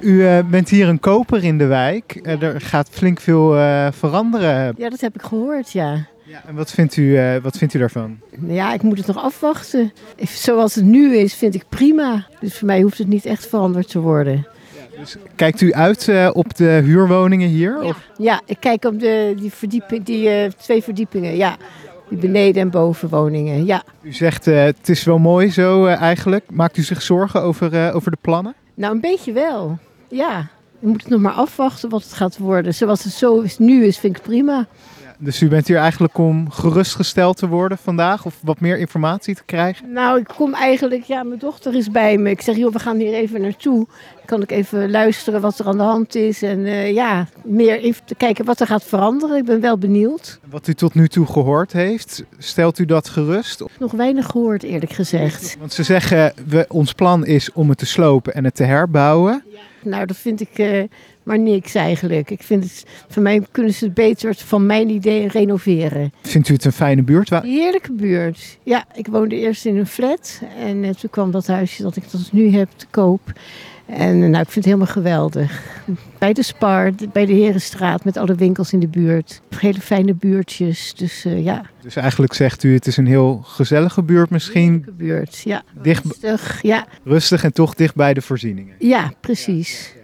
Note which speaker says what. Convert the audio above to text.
Speaker 1: U eh, bent hier een koper in de wijk. Eh, er gaat flink veel eh, veranderen.
Speaker 2: Ja, dat heb ik gehoord, ja.
Speaker 1: Ja, en wat vindt, u, eh, wat vindt u daarvan?
Speaker 2: Nou Ja, ik moet het nog afwachten. Ik- Zoals het nu is, vind ik prima. Dus voor mij hoeft het niet echt veranderd te worden.
Speaker 1: Kijkt u uit eh, op de huurwoningen hier? Of-
Speaker 2: Ja, ik kijk op de, die, verdieping, die eh, twee verdiepingen, ja. Die beneden- en bovenwoningen, ja.
Speaker 1: U zegt eh, het is wel mooi zo eh, eigenlijk. Maakt u zich zorgen over, eh, over de plannen?
Speaker 2: Nou, een beetje wel, ja. Je moet het nog maar afwachten wat het gaat worden. Zoals het zo is, nu is, vind ik prima.
Speaker 1: Dus u bent hier eigenlijk om gerustgesteld te worden vandaag of wat meer informatie te krijgen?
Speaker 2: Nou, ik kom eigenlijk, ja, mijn dochter is bij me. Ik zeg, joh, we gaan hier even naartoe. Kan ik even luisteren wat er aan de hand is? En eh, ja, meer even te kijken wat er gaat veranderen. Ik ben wel benieuwd.
Speaker 1: Wat u tot nu toe gehoord heeft, stelt u dat gerust?
Speaker 2: Nog weinig gehoord, eerlijk gezegd.
Speaker 1: Want ze zeggen, we, ons plan is om het te slopen en het te herbouwen.
Speaker 2: Nou, dat vind ik eh, maar niks eigenlijk. Ik vind het, van mij kunnen ze het beter van mijn idee renoveren.
Speaker 1: Vindt u het een fijne buurt? Wa-
Speaker 2: Heerlijke buurt. Ja, ik woonde eerst in een flat. En eh, toen kwam dat huisje dat ik dat nu heb te koop. En eh, nou, ik vind het helemaal geweldig. Bij de Spar, d- bij de Herenstraat, met alle winkels in de buurt. Hele fijne buurtjes. Dus eh, ja,
Speaker 1: Dus eigenlijk zegt u, het is een heel gezellige buurt misschien.
Speaker 2: leuke buurt. Ja,
Speaker 1: Dicht,
Speaker 2: rustig. Ja,
Speaker 1: rustig en toch dicht bij de voorzieningen.
Speaker 2: ja precies.